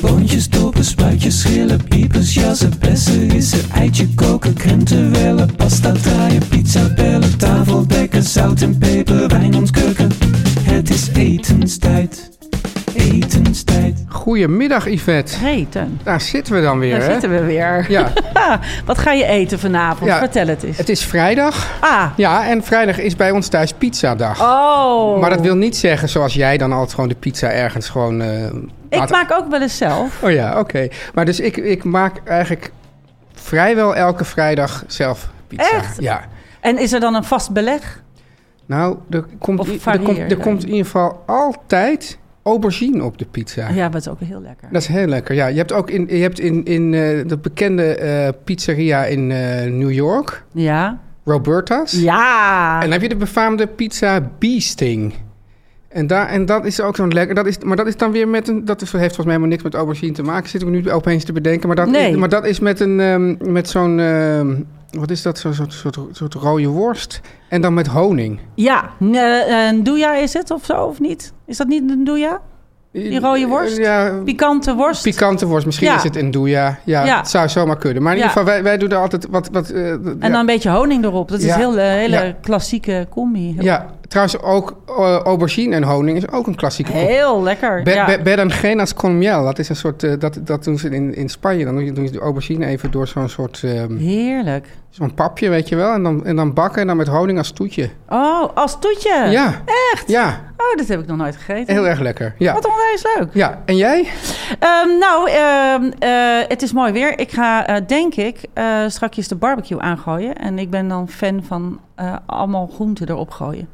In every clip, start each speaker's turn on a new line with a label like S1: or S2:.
S1: Boontjes, dopen, spuitjes, schillen, piepers, jassen, bessen, rissen, eitje koken, krenten wellen, pasta draaien, pizza bellen, tafel dekken, zout en peper, wijn ontkurken. Het is etenstijd, etenstijd.
S2: Goedemiddag Yvette.
S3: Hey Teun,
S2: Daar zitten we dan weer,
S3: daar
S2: hè?
S3: zitten we weer.
S2: Ja.
S3: Wat ga je eten vanavond?
S2: Ja.
S3: Vertel het eens.
S2: Het is vrijdag.
S3: Ah,
S2: Ja, en vrijdag is bij ons thuis pizzadag.
S3: oh.
S2: Maar dat wil niet zeggen zoals jij dan altijd gewoon de pizza ergens gewoon... eh,
S3: Ik
S2: laat-
S3: maak ook wel eens zelf.
S2: Oh ja, oké. Maar dus ik, ik maak eigenlijk vrijwel elke vrijdag zelf pizza.
S3: Echt?
S2: Ja.
S3: En is er dan een vast beleg?
S2: Nou, er komt,
S3: Of
S2: i- er
S3: varieer
S2: komt, er
S3: dan.
S2: komt in ieder geval altijd aubergine op de pizza.
S3: Ja, maar dat is ook heel lekker.
S2: Dat is heel lekker. Ja, je hebt ook in, je hebt in, in eh, de bekende eh, pizzeria in eh, New York,
S3: Ja.
S2: Roberta's.
S3: Ja.
S2: En dan heb je de befaamde pizza Beasting. En, daar, en dat is ook zo'n lekker. Dat is, maar dat is dan weer met een. Dat is, heeft volgens mij helemaal niks met aubergine te maken. Zit ik nu opeens te bedenken. Maar dat, is,
S3: Nee.
S2: maar dat is met, een, ehm, met zo'n. ehm, wat is dat? Zo'n soort, soort, soort rode worst. En dan met honing.
S3: Ja, N- eh, een douja is het of zo, of niet? Is dat niet een douja? Die rode worst?
S2: Ja,
S3: Pikante worst?
S2: pikante worst. Misschien
S3: Ja.
S2: is het een doja. Ja,
S3: Ja.
S2: het zou zomaar kunnen. Maar in
S3: Ja.
S2: ieder geval, wij, wij doen er altijd wat. wat eh,
S3: en
S2: ja.
S3: dan een beetje honing erop. Dat is
S2: Ja.
S3: een hele, hele
S2: Ja.
S3: klassieke combi.
S2: Ja, trouwens ook eh, aubergine en honing is ook een klassieke combi.
S3: Heel lekker.
S2: Be-
S3: ja.
S2: be- Berenjenas con miel, dat is een soort, eh, dat, dat doen ze in, in Spanje. Dan doen ze de aubergine even door zo'n soort, ehm,
S3: Heerlijk.
S2: zo'n papje, weet je wel. En dan, en dan bakken en dan met honing als toetje.
S3: Oh, als toetje.
S2: ja. Echt? Ja,
S3: Oh, dat heb ik nog nooit gegeten.
S2: heel erg lekker. Ja.
S3: Wat onwijs leuk.
S2: Ja, en jij?
S3: Ehm, nou, ehm, eh, het is mooi weer. Ik ga, eh, denk ik, eh strakjes de barbecue aangooien. En ik ben dan fan van eh, allemaal groenten erop gooien.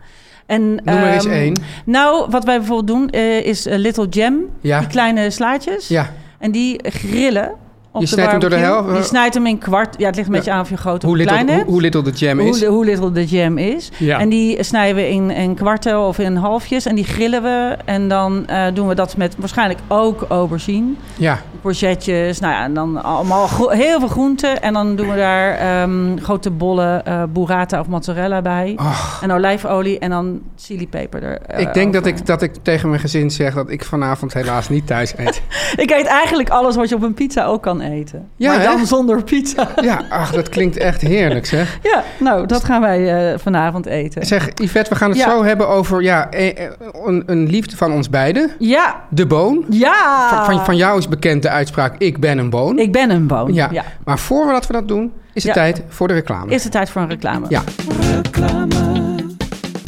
S3: En,
S2: Noem er eens
S3: ehm,
S2: één.
S3: Nou, wat wij bijvoorbeeld doen eh, is eh, Little Jam.
S2: Ja.
S3: Die kleine slaatjes.
S2: Ja.
S3: En die grillen op
S2: Je
S3: de
S2: snijdt hem door de
S3: barbecue.
S2: helft, eh?
S3: Je snijdt hem in kwart. Ja, het ligt een
S2: Ja.
S3: beetje aan of je groot of
S2: Hoe
S3: klein
S2: little, hoe,
S3: hebt.
S2: hoe little the jam is.
S3: Hoe, hoe little de jam is.
S2: Ja.
S3: En die snijden we in, in kwarten of in halfjes. En die grillen we. En dan eh, doen we dat met waarschijnlijk ook aubergine.
S2: ja,
S3: Courgettes, nou ja, en dan allemaal gro- heel veel groenten. En dan doen we daar ehm, grote bollen eh, burrata of mozzarella bij. En olijfolie en dan chilipeper er. eh,
S2: Oh. ik denk dat
S3: over.
S2: ik, dat ik tegen mijn gezin zeg dat ik vanavond helaas niet thuis eet.
S3: Ik eet eigenlijk alles wat je op een pizza ook kan eten.
S2: Ja,
S3: maar
S2: hè?
S3: dan zonder pizza.
S2: Ja, ach, dat klinkt echt heerlijk zeg.
S3: Ja, nou, dat gaan wij eh, vanavond eten.
S2: Zeg, Yvette, we gaan het
S3: Ja.
S2: zo hebben over ja, eh, eh, een, een liefde van ons beiden.
S3: Ja,
S2: De boon.
S3: ja!
S2: Van, van, van jou is bekend de uitspraak: Ik ben een boon.
S3: Ah. Ik ben een boon.
S2: ja.
S3: Ja.
S2: Maar voordat we dat doen, is het
S3: Ja.
S2: tijd voor de reclame.
S3: Is het tijd voor een reclame?
S2: Ja.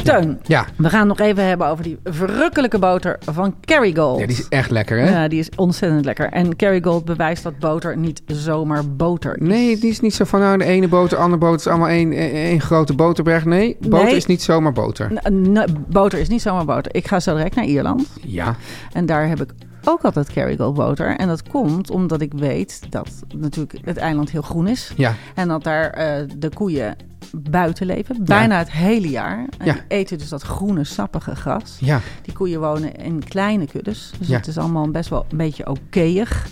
S3: Teun,
S2: Ja.
S3: we gaan nog even hebben over die verrukkelijke boter van Kerrygold.
S2: ja, die is echt lekker, hè?
S3: Ja, die is ontzettend lekker. En Kerrygold bewijst dat boter niet zomaar boter is.
S2: Nee, die is niet zo van nou, de ene boter, de andere boter is allemaal één, één- één grote boterberg. Nee, boter
S3: Nee.
S2: is niet zomaar boter.
S3: N- n- boter is niet zomaar boter. Ik ga zo direct naar Ierland.
S2: Ja.
S3: En daar heb ik ook altijd Kerrygold boter. En dat komt omdat ik weet dat natuurlijk het eiland heel groen is.
S2: Ja.
S3: En dat daar eh, de koeien buiten leven. Bijna het hele jaar. En
S2: Ja.
S3: die eten dus dat groene, sappige gras.
S2: Ja.
S3: Die koeien wonen in kleine kuddes. Dus
S2: Ja.
S3: het is allemaal best wel een beetje okéig.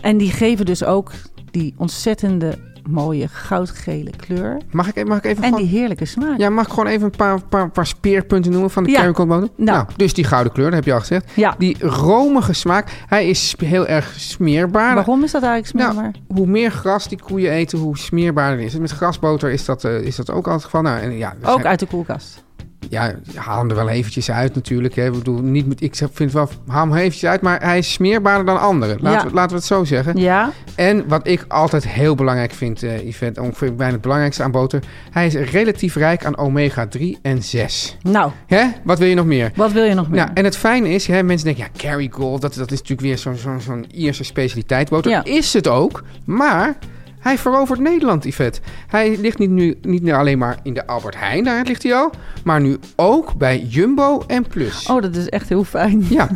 S3: En die geven dus ook die ontzettende mooie goudgele kleur.
S2: Mag ik, mag ik even
S3: En
S2: gewoon...
S3: die heerlijke smaak.
S2: Ja, mag ik gewoon even een paar, paar, paar speerpunten noemen van de
S3: Ja.
S2: ja. boter?
S3: Nou.
S2: dus die gouden kleur, dat heb je al gezegd.
S3: Ja.
S2: Die romige smaak, hij is sp- heel erg smeerbaar.
S3: Waarom is dat eigenlijk smaak?
S2: Nou, hoe meer gras die koeien eten, hoe smeerbaarder het is. Met grasboter is dat, eh, is dat ook al het geval. Nou, en ja, er
S3: ook
S2: zijn-
S3: uit de koelkast.
S2: Ja, haal hem er wel eventjes uit natuurlijk. Hè. Ik, bedoel, niet met, ik zeg- vind wel, haal hem eventjes uit, maar hij is smeerbaarder dan anderen. Laten,
S3: Ja.
S2: we, laten we het zo zeggen.
S3: Ja,
S2: En wat ik altijd heel belangrijk vind, eh Yvette, ongeveer bijna het belangrijkste aan boter. Hij is relatief rijk aan omega-3 en 6.
S3: nou,
S2: Hè? Wat wil je nog meer?
S3: wat wil je nog meer?
S2: Nou, en het fijne is, hè, mensen denken, ja, Kerrygold, dat, dat is natuurlijk weer zo'n zo'n zo'n Ierse specialiteit. Boter
S3: Ja.
S2: is het ook, maar hij verovert Nederland, Yvette. Hij ligt niet, nu, niet meer alleen maar in de Albert Heijn, daar ligt hij al, maar nu ook bij Jumbo en Plus.
S3: Oh, dat is echt heel fijn.
S2: Ja,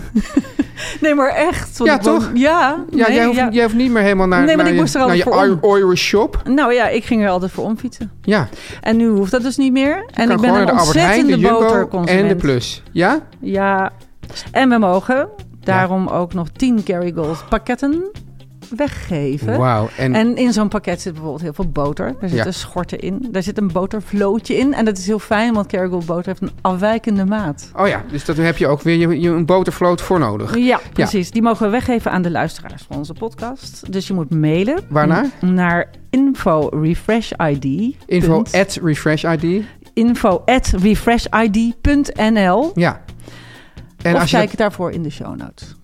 S3: Nee, maar echt. want
S2: Ja,
S3: ik woon-
S2: toch?
S3: Ja,
S2: ja,
S3: nee,
S2: jij, hoeft,
S3: ja.
S2: jij hoeft niet meer helemaal naar,
S3: Nee, maar
S2: naar
S3: ik
S2: je,
S3: moest er
S2: naar
S3: altijd
S2: je
S3: voor
S2: Ir- Irish shop.
S3: Nou ja, ik ging er altijd voor omfietsen.
S2: Ja,
S3: En nu hoeft dat dus niet meer. En
S2: kan
S3: ik ben
S2: gewoon
S3: een
S2: naar de Albert Heijn, de
S3: ontzettende
S2: Jumbo
S3: boterconsument.
S2: en de Plus. Ja?
S3: Ja, en we mogen daarom ook nog 10 Kerrygold pakketten weggeven.
S2: Wauw. En,
S3: En in zo'n pakket zit bijvoorbeeld heel veel boter. Daar zitten
S2: Ja.
S3: schorten in. Daar zit een botervlootje in. En dat is heel fijn, want Kerrygold boter heeft een afwijkende maat.
S2: oh ja, dus daar heb je ook weer je, je een botervloot voor nodig.
S3: Ja, precies. Die mogen we weggeven aan de luisteraars van onze podcast. Dus je moet mailen.
S2: Waarnaar?
S3: Naar info refreshid.
S2: Info at refresh ID.
S3: info at refreshid.nl.
S2: Ja. En
S3: Of
S2: als je
S3: kijk het daarvoor in de show notes.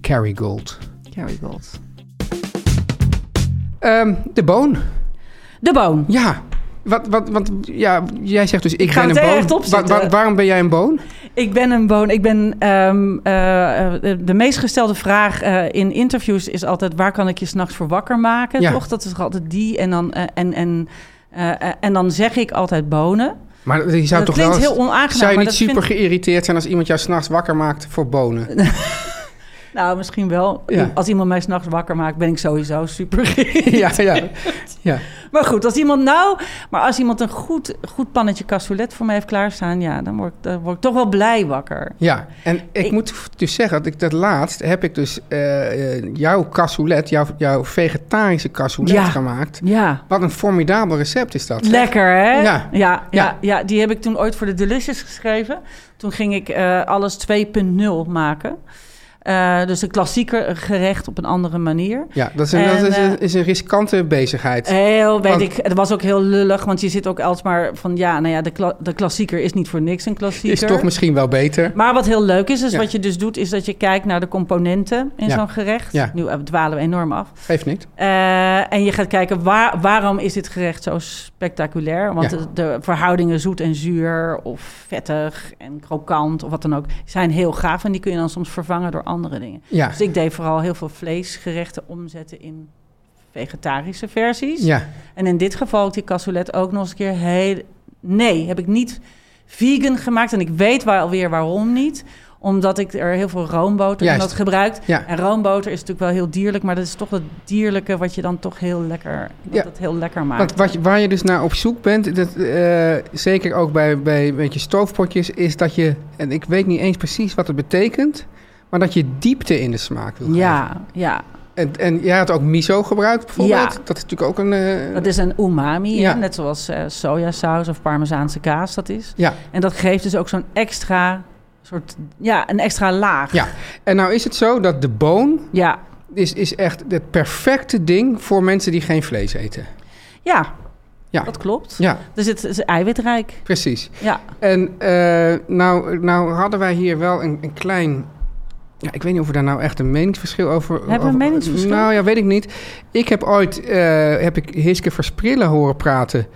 S2: Kerrygold.
S3: Kerrygold.
S2: Ehm, de boon.
S3: De boon.
S2: Ja. Wat, wat, want ja, jij zegt dus ik,
S3: ga
S2: ben
S3: het
S2: een boon.
S3: echt opzetten.
S2: Wa- wa- waarom ben jij een boon?
S3: Ik ben een boon. Ik ben ehm, eh, eh, de- de meest gestelde vraag eh, in interviews is altijd: waar kan ik je s'nachts voor wakker maken?
S2: Ja.
S3: Toch? Dat is toch altijd die. En dan, eh, en, en, eh, eh, en dan zeg ik altijd bonen.
S2: Maar je zou
S3: dat
S2: toch wel...
S3: klinkt
S2: eens-
S3: heel onaangenaam.
S2: zou je niet
S3: maar dat
S2: super
S3: vind-
S2: geïrriteerd zijn als iemand jou s'nachts wakker maakt voor bonen?
S3: Nou, misschien wel.
S2: Ja.
S3: Als iemand mij s'nachts wakker maakt, ben ik sowieso super geïrriteerd.
S2: ja, ja, ja.
S3: Maar goed, als iemand nou... Maar als iemand een goed, goed pannetje cassoulet voor mij heeft klaarstaan... ja, dan word, ik- dan word ik toch wel blij wakker.
S2: Ja, en ik,
S3: Ik-
S2: moet dus zeggen, dat, ik, dat laatst heb ik dus eh, eh, jouw cassoulet, jouw, jouw vegetarische cassoulet
S3: Ja.
S2: gemaakt.
S3: Ja.
S2: Wat een formidabel recept is dat.
S3: Lekker, hè?
S2: Ja.
S3: Ja,
S2: Ja.
S3: ja, ja, die heb ik toen ooit voor de Delicious geschreven. Toen ging ik eh, alles 2.0 maken. Eh, dus een klassieker gerecht op een andere manier.
S2: Ja, dat is een,
S3: En,
S2: dat is, een,
S3: eh,
S2: is een riskante bezigheid.
S3: Heel, weet
S2: Want-
S3: ik. Het was ook heel lullig, want je zit ook alsmaar van... ja, nou ja, de, kla- de klassieker is niet voor niks een klassieker.
S2: is toch misschien wel beter.
S3: Maar wat heel leuk is, is
S2: Ja.
S3: wat je dus doet, is dat je kijkt naar de componenten in
S2: Ja.
S3: zo'n gerecht.
S2: Ja.
S3: Nu eh, dwalen we enorm af.
S2: Geeft niet.
S3: Eh, en je gaat kijken waar, waarom is dit gerecht zo spectaculair? Want
S2: Ja.
S3: de, de verhoudingen zoet en zuur of vettig en krokant of wat dan ook zijn heel gaaf en die kun je dan soms vervangen door andere dingen.
S2: Ja.
S3: Dus ik deed vooral heel veel vleesgerechten omzetten in vegetarische versies.
S2: Ja,
S3: En in dit geval ook die cassoulet ook nog eens een keer heel... Nee, heb ik niet vegan gemaakt. En ik weet wel weer waarom niet. Omdat ik er heel veel roomboter in
S2: Juist.
S3: had gebruikt.
S2: Ja.
S3: En roomboter is natuurlijk wel heel dierlijk. Maar dat is toch dat dierlijke wat je dan toch heel lekker, wat
S2: Ja.
S3: dat heel lekker maakt.
S2: want wat, je- waar je dus naar op zoek bent, dat, eh, zeker ook bij, bij weet je, stoofpotjes, is dat je, en ik weet niet eens precies wat het betekent, maar dat je diepte in de smaak wil geven.
S3: ja, ja,
S2: En, en jij had ook miso gebruikt bijvoorbeeld.
S3: Ja.
S2: Dat is natuurlijk ook een... eh,
S3: dat is een umami. hè?
S2: Ja.
S3: Net zoals eh, sojasaus of parmezaanse kaas dat is.
S2: Ja,
S3: En dat geeft dus ook zo'n extra soort... Ja, een extra laag.
S2: ja. En nou is het zo dat de boon
S3: ja.
S2: is, is echt het perfecte ding voor mensen die geen vlees eten.
S3: Ja,
S2: Ja.
S3: dat klopt.
S2: Ja,
S3: Dus het is eiwitrijk.
S2: precies.
S3: Ja.
S2: En eh, nou, nou hadden wij hier wel een, een klein. Ja, ik weet niet of we daar nou echt een meningsverschil over
S3: we een
S2: over-
S3: meningsverschil?
S2: Nou ja, weet ik niet. Ik heb ooit eh, heb ik Hiske Versprillen horen praten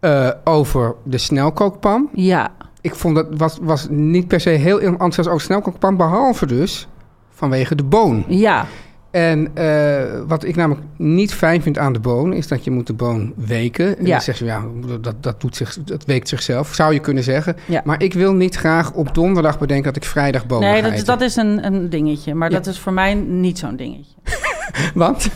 S2: eh, over de snelkookpan.
S3: Ja,
S2: Ik vond dat was, was niet per se heel enthousiast over snelkookpan, behalve dus vanwege de boon.
S3: ja,
S2: En eh, wat ik namelijk niet fijn vind aan de boon, is dat je moet de boon weken. En
S3: Ja.
S2: dan zeg je, ja, dat, dat, doet zich, dat weekt zichzelf, zou je kunnen zeggen.
S3: Ja.
S2: Maar ik wil niet graag op donderdag bedenken dat ik vrijdag bonen
S3: nee,
S2: ga
S3: dat is,
S2: eten.
S3: dat is een, een dingetje. Maar
S2: Ja.
S3: dat is voor mij niet zo'n dingetje.
S2: Want?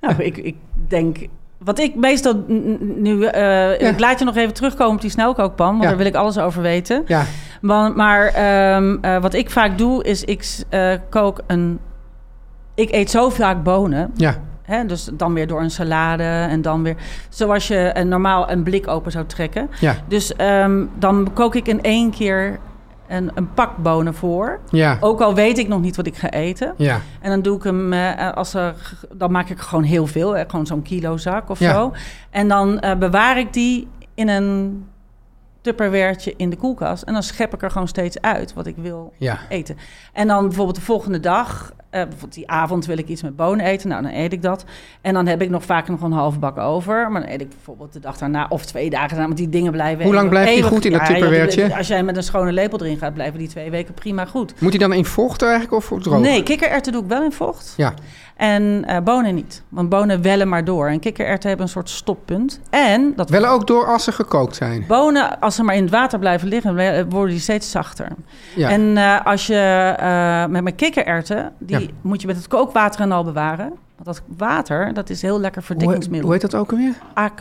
S3: Nou, ik, ik denk... Wat ik meestal n- n- nu... eh,
S2: Ja.
S3: Ik laat je nog even terugkomen op die snelkookpan. Want
S2: Ja.
S3: daar wil ik alles over weten.
S2: Ja,
S3: Maar, maar ehm, eh, wat ik vaak doe, is ik s- eh, kook een... Ik eet zo vaak bonen.
S2: ja,
S3: Hè? Dus dan weer door een salade en dan weer... Zoals je eh, normaal een blik open zou trekken.
S2: ja,
S3: Dus ehm, dan kook ik in één keer een, een pak bonen voor.
S2: ja,
S3: Ook al weet ik nog niet wat ik ga eten.
S2: ja,
S3: En dan doe ik hem, eh, als er, dan maak ik er gewoon heel veel. Hè, gewoon zo'n kilo zak of
S2: Ja.
S3: zo. En dan eh, bewaar ik die in een tupperwareetje in de koelkast. En dan schep ik er gewoon steeds uit wat ik wil
S2: Ja.
S3: eten. En dan bijvoorbeeld de volgende dag, eh, bijvoorbeeld die avond wil ik iets met bonen eten. Nou, dan eet ik dat. En dan heb ik nog vaak nog een halve bak over. Maar dan eet ik bijvoorbeeld de dag daarna of twee dagen daarna. Want die dingen blijven...
S2: Hoe lang blijft die
S3: eeuwig-
S2: goed in dat
S3: Ja, joh,
S2: tupperwareetje?
S3: Als jij met een schone lepel erin gaat, blijven die twee weken prima goed.
S2: Moet die dan in vocht eigenlijk of droog?
S3: Nee, kikkererwten doe ik wel in vocht.
S2: Ja,
S3: En eh, bonen niet. Want bonen wellen maar door. En kikkererwten hebben een soort stoppunt. En dat
S2: wel ook door als ze gekookt zijn.
S3: bonen, als ze maar in het water blijven liggen, we- eh, worden die steeds zachter.
S2: Ja.
S3: En eh, als je eh, met mijn kikkererwten, die
S2: Ja.
S3: moet je met het kookwater en al bewaren. Want dat water, dat is heel lekker
S2: hoe,
S3: verdikkingsmiddel.
S2: hoe heet dat ook alweer?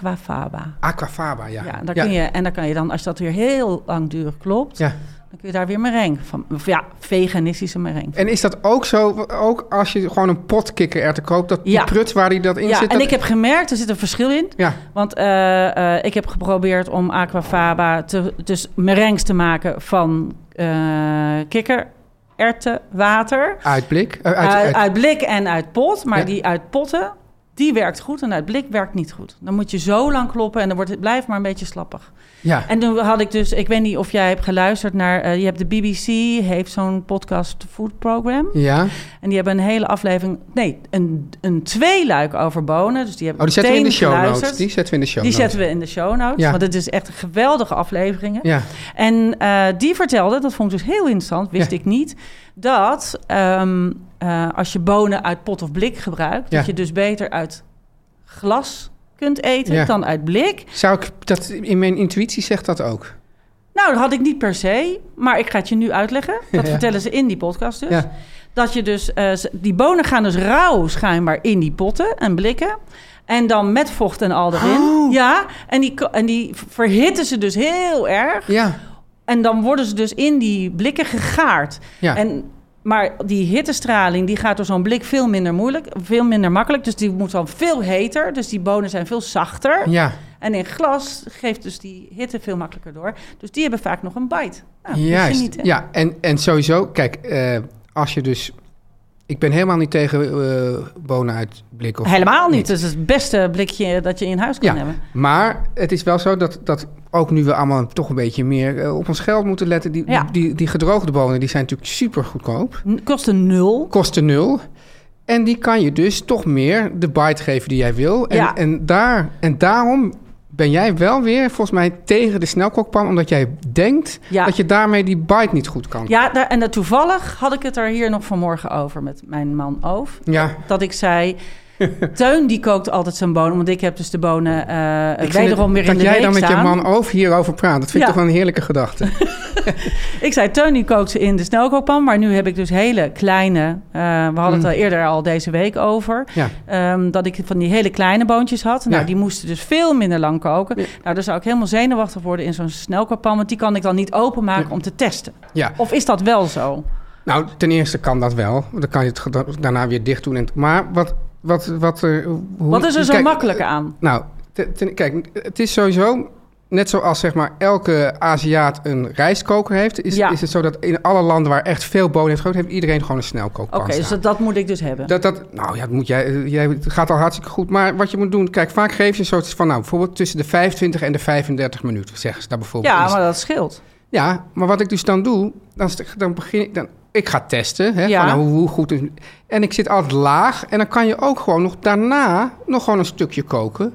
S3: Aquafaba.
S2: Aquafaba, ja.
S3: Ja, daar Kun je, en dan kan je dan, als dat weer heel langdurig klopt,
S2: Ja.
S3: dan kun je daar weer meringue van. Of ja, veganistische meringue.
S2: En is dat ook zo, ook als je gewoon een potkikker er te koopt, dat die
S3: Ja.
S2: prut waar die dat in
S3: Ja,
S2: zit?
S3: en
S2: dat-
S3: ik heb gemerkt, er zit een verschil in.
S2: Ja,
S3: Want eh, eh, ik heb geprobeerd om aquafaba, te, dus merengs te maken van eh kikker, erwten, water.
S2: uitblik. eh, uit,
S3: Uit,
S2: uit-
S3: uit blik en uit pot. Maar
S2: Ja.
S3: die uit potten, die werkt goed en uit blik werkt niet goed. Dan moet je zo lang kloppen en dan wordt het, blijft maar een beetje slappig.
S2: ja.
S3: En toen had ik dus, ik weet niet of jij hebt geluisterd naar, eh, je hebt de BBC, heeft zo'n podcast Food Program.
S2: ja. Oh,
S3: En die hebben een hele aflevering, nee, een, een tweeluik over bonen. Dus die
S2: Oh,
S3: hebben
S2: die zetten we in de
S3: meteen
S2: show notes.
S3: geluisterd.
S2: Die zetten we in de show
S3: Die
S2: notes.
S3: zetten we in de show notes.
S2: Ja.
S3: Want het is echt een geweldige afleveringen.
S2: Ja.
S3: En eh, die vertelde, dat vond ik dus heel interessant, wist
S2: Ja.
S3: ik niet, dat ehm, eh, als je bonen uit pot of blik gebruikt,
S2: Ja.
S3: dat je dus beter uit glas kunt eten
S2: Ja.
S3: dan uit blik.
S2: Zou ik dat, in mijn intuïtie zegt dat ook.
S3: Nou, dat had ik niet per se, maar ik ga het je nu uitleggen. Dat
S2: Ja.
S3: vertellen ze in die podcast dus.
S2: Ja.
S3: Dat je dus, eh, ze- die bonen gaan dus rauw schijnbaar in die potten en blikken. En dan met vocht en al erin.
S2: Oh.
S3: Ja, en die, ko- en die verhitten ze dus heel erg.
S2: Ja,
S3: En dan worden ze dus in die blikken gegaard.
S2: Ja.
S3: En, maar die hittestraling die gaat door zo'n blik veel minder moeilijk, veel minder makkelijk. Dus die moet dan veel heter. Dus die bonen zijn veel zachter.
S2: ja.
S3: En in glas geeft dus die hitte veel makkelijker door. Dus die hebben vaak nog een bite. Nou, wist je
S2: Juist.
S3: niet, hè?
S2: ja, en, en sowieso, kijk, eh, als je dus... Ik ben helemaal niet tegen eh, bonen uit blik. Of
S3: Helemaal niet. Dus het is het beste blikje dat je in huis kan
S2: Ja,
S3: hebben.
S2: maar het is wel zo dat, dat ook nu we allemaal toch een beetje meer eh, op ons geld moeten letten. Die,
S3: Ja.
S2: die, die gedroogde bonen die zijn natuurlijk super goedkoop.
S3: N- Kost een nul.
S2: Kosten nul. En die kan je dus toch meer de bite geven die jij wil. En,
S3: Ja.
S2: en, daar, en daarom ben jij wel weer volgens mij tegen de snelkookpan. Omdat jij denkt
S3: Ja.
S2: dat je daarmee die bite niet goed kan.
S3: Ja, daar, en dat- toevallig had ik het er hier nog vanmorgen over met mijn man Oof.
S2: Ja.
S3: dat ik zei... Teun die kookt altijd zijn bonen, want ik heb dus de bonen eh
S2: Ik vind
S3: wederom
S2: het-
S3: weer in
S2: dat
S3: de
S2: jij
S3: week
S2: dan met je
S3: staan.
S2: man over hierover praat. Dat vind
S3: Ja.
S2: ik toch wel een heerlijke gedachte.
S3: Ik zei, Teun die kookt ze in de snelkookpan, maar nu heb ik dus hele kleine... eh, we hadden
S2: Mm.
S3: het al eerder al deze week over,
S2: Ja.
S3: ehm, dat ik van die hele kleine boontjes had. Nou,
S2: Ja.
S3: die moesten dus veel minder lang koken.
S2: Ja.
S3: Nou, daar zou ik helemaal zenuwachtig worden in zo'n snelkookpan, want die kan ik dan niet openmaken om te testen.
S2: Ja.
S3: Of is dat wel zo?
S2: Nou, ten eerste kan dat wel. Dan kan je het geda- daarna weer dicht doen. En, maar wat, wat, wat, er- hoe,
S3: Wat is er zo
S2: kijk,
S3: makkelijk aan?
S2: Nou, te- ten- kijk, het is sowieso... Net zoals zeg maar elke Aziat een rijstkoker heeft... Is,
S3: Ja.
S2: is het zo dat in alle landen waar echt veel bonen heeft groot... heeft iedereen gewoon een snelkookpan
S3: Oké, dus
S2: staan.
S3: dat, dat moet ik dus hebben.
S2: Dat, dat, nou ja, dat moet jij, eh, jij, het gaat al hartstikke goed. Maar wat je moet doen, kijk, vaak geef je een soort van, nou, bijvoorbeeld tussen de 25 en de 35 minuten, zeggen ze daar bijvoorbeeld.
S3: ja,
S2: in.
S3: maar dat scheelt.
S2: Ja, maar wat ik dus dan doe, dan, st- dan begin ik dan. Ik ga testen, hè,
S3: Ja.
S2: van, nou, hoe, hoe goed. is- en ik zit altijd laag. En dan kan je ook gewoon nog daarna nog gewoon een stukje koken.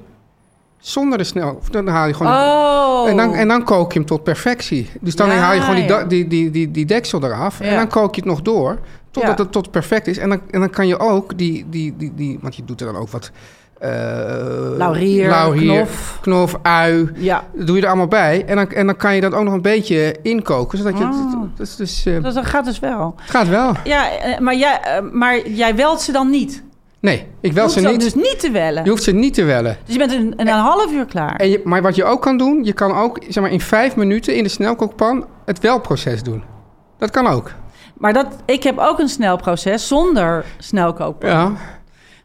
S2: Zonder de snel. of Dan haal je gewoon.
S3: Oh.
S2: En, dan, en dan kook je hem tot perfectie. Dus dan
S3: Ja,
S2: haal je gewoon die, da-
S3: ja.
S2: die, die, die, die deksel eraf. En
S3: Ja.
S2: dan kook je het nog door. Totdat
S3: Ja.
S2: het tot perfect is. En dan, en dan kan je ook die, die, die, die. Want je doet er dan ook wat. eh
S3: Laurier,
S2: laurier,
S3: knof.
S2: knof, ui.
S3: Ja.
S2: Dat doe je er allemaal bij. En dan, en dan kan je dat ook nog een beetje inkoken. Zodat je.
S3: Ah.
S2: Dus, dus, eh,
S3: Dus dat gaat dus wel.
S2: het gaat wel.
S3: Ja, eh, maar jij, eh, maar jij welt ze dan niet.
S2: Nee, ik
S3: Je
S2: wel
S3: hoeft
S2: ze niet.
S3: dus niet te wellen.
S2: Je hoeft ze niet te wellen.
S3: Dus je bent een, een, half uur klaar.
S2: En je, maar wat je ook kan doen, je kan ook zeg maar, in vijf minuten in de snelkookpan het welproces doen. Dat kan ook.
S3: Maar dat, ik heb ook een snel proces zonder snelkookpan.
S2: Ja.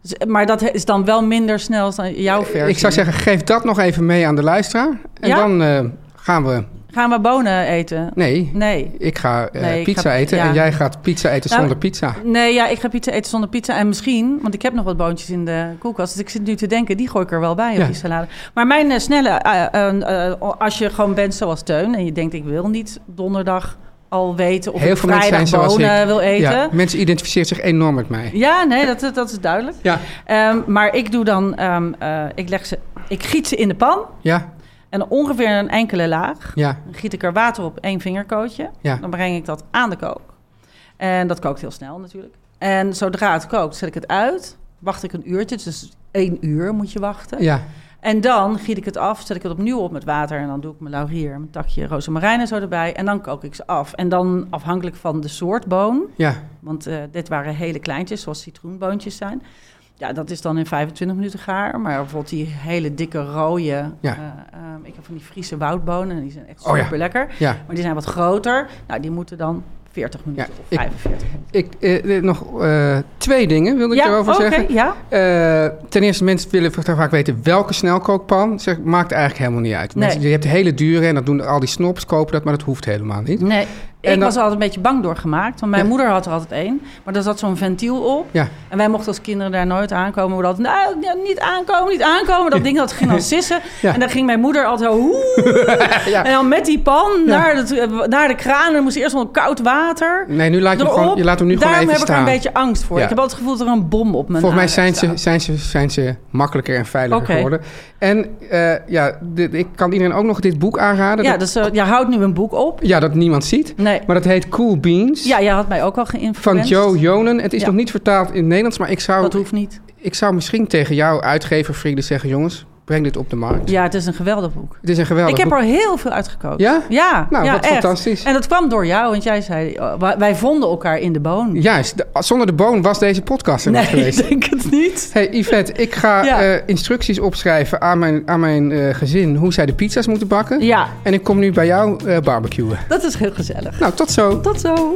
S3: Dus- Maar dat is dan wel minder snel dan jouw versie.
S2: Ik zou zeggen, geef dat nog even mee aan de luisteraar. En
S3: Ja?
S2: dan eh, gaan we
S3: Gaan we bonen eten?
S2: Nee,
S3: Nee.
S2: ik ga eh,
S3: Nee, ik
S2: pizza
S3: ga-
S2: eten
S3: ja.
S2: en jij gaat pizza eten
S3: Nou,
S2: zonder pizza.
S3: Nee, ja, ik ga pizza eten zonder pizza. En misschien, want ik heb nog wat boontjes in de koelkast. Dus ik zit nu te denken, die gooi ik er wel bij
S2: Ja.
S3: op die salade. Maar mijn eh, snelle, eh, eh, eh, als je gewoon bent zoals Teun... en je denkt, ik wil niet donderdag al weten of
S2: Heel
S3: ik
S2: veel mensen
S3: vrijdag
S2: zijn zoals
S3: bonen
S2: ik.
S3: wil eten.
S2: Ja,
S3: Ja,
S2: mensen identificeren zich enorm met mij.
S3: nee, dat- dat, dat is duidelijk.
S2: Ja,
S3: Ehm, maar ik doe dan, ehm, eh, ik leg ze, ik giet ze in de pan...
S2: ja,
S3: en ongeveer een enkele laag...
S2: ja,
S3: Dan giet ik er water op één vingerkootje.
S2: ja.
S3: Dan breng ik dat aan de kook. En dat kookt heel snel natuurlijk. En zodra het kookt, zet ik het uit. Wacht ik een uurtje, dus één uur moet je wachten.
S2: Ja,
S3: En dan giet ik het af, zet ik het opnieuw op met water. En dan doe ik mijn laurier, mijn takje rozemarijn en zo erbij. En dan kook ik ze af. En dan afhankelijk van de soort boon.
S2: ja,
S3: Want eh, dit waren hele kleintjes, zoals citroenboontjes zijn. Ja, dat is dan in 25 minuten gaar. Maar bijvoorbeeld die hele dikke rode...
S2: Ja.
S3: eh, ehm, ik heb van die Friese woudbonen, en die zijn echt
S2: Oh ja.
S3: super lekker.
S2: ja.
S3: Maar die zijn wat groter. Nou, die moeten dan 40 minuten
S2: Ja,
S3: of
S2: ik-
S3: 45 minuten.
S2: Ik, eh, eh, nog eh, twee dingen wilde ik
S3: ja,
S2: erover
S3: oké,
S2: zeggen.
S3: ja.
S2: Eh, ten eerste, mensen willen toch vaak weten welke snelkookpan. Zeg, maakt eigenlijk helemaal niet uit. Mensen,
S3: Nee.
S2: je hebt hele dure en dat doen al die snops, kopen dat, maar dat hoeft helemaal niet.
S3: Nee, ik
S2: dan-
S3: was er altijd een beetje bang door gemaakt. Want mijn
S2: Ja.
S3: moeder had er altijd één. Maar daar zat zo'n ventiel op.
S2: Ja.
S3: En wij mochten als kinderen daar nooit aankomen. We hadden altijd, nou, niet aankomen, niet aankomen. Dat ding dat ging dan sissen.
S2: Ja.
S3: En dan ging mijn moeder altijd zo... "Oeh."
S2: Ja.
S3: En dan met die pan naar, de, naar de kraan. En dan moest eerst nog koud water.
S2: Nee, nu laat je, hem
S3: erop.
S2: gewoon, je laat hem nu
S3: Daarom
S2: gewoon even
S3: heb
S2: staan.
S3: ik er een beetje angst voor.
S2: Ja.
S3: Ik heb altijd het gevoel dat er een bom op mijn
S2: Volgens mij zijn
S3: aanrecht
S2: ze,
S3: staat.
S2: zijn, ze, zijn ze makkelijker en veiliger
S3: Oké.
S2: geworden. En eh, ja, dit- ik kan iedereen ook nog dit boek aanraden.
S3: Ja,
S2: dat,
S3: dus eh, je houdt nu een boek op.
S2: ja, dat niemand ziet.
S3: Nee.
S2: Maar dat heet Cool Beans
S3: Ja, jij had mij ook al
S2: van
S3: geïnfluenced.
S2: Joe Jonen. Het is
S3: Ja.
S2: nog niet vertaald in het Nederlands, maar ik zou,
S3: Dat hoeft niet.
S2: ik zou misschien tegen jouw uitgever, vrienden zeggen... jongens, breng dit op de markt.
S3: Ja, het is een geweldig boek.
S2: Het is een geweldig
S3: ik heb
S2: boek.
S3: er heel veel uitgekookt.
S2: Ja?
S3: Ja,
S2: Nou,
S3: ja,
S2: wat
S3: echt.
S2: fantastisch.
S3: En dat kwam door jou, want jij zei, oh, wij- wij vonden elkaar in de boon.
S2: Juist, de- zonder de boon was deze podcast er niet
S3: nee,
S2: geweest.
S3: ik denk het niet.
S2: Hey Yvette, ik ga
S3: Ja.
S2: eh, instructies opschrijven aan mijn, aan mijn eh, gezin... hoe zij de pizza's moeten bakken.
S3: Ja,
S2: En ik kom nu bij jou eh, barbecuen.
S3: dat is heel gezellig.
S2: Nou, tot zo.
S3: Tot zo.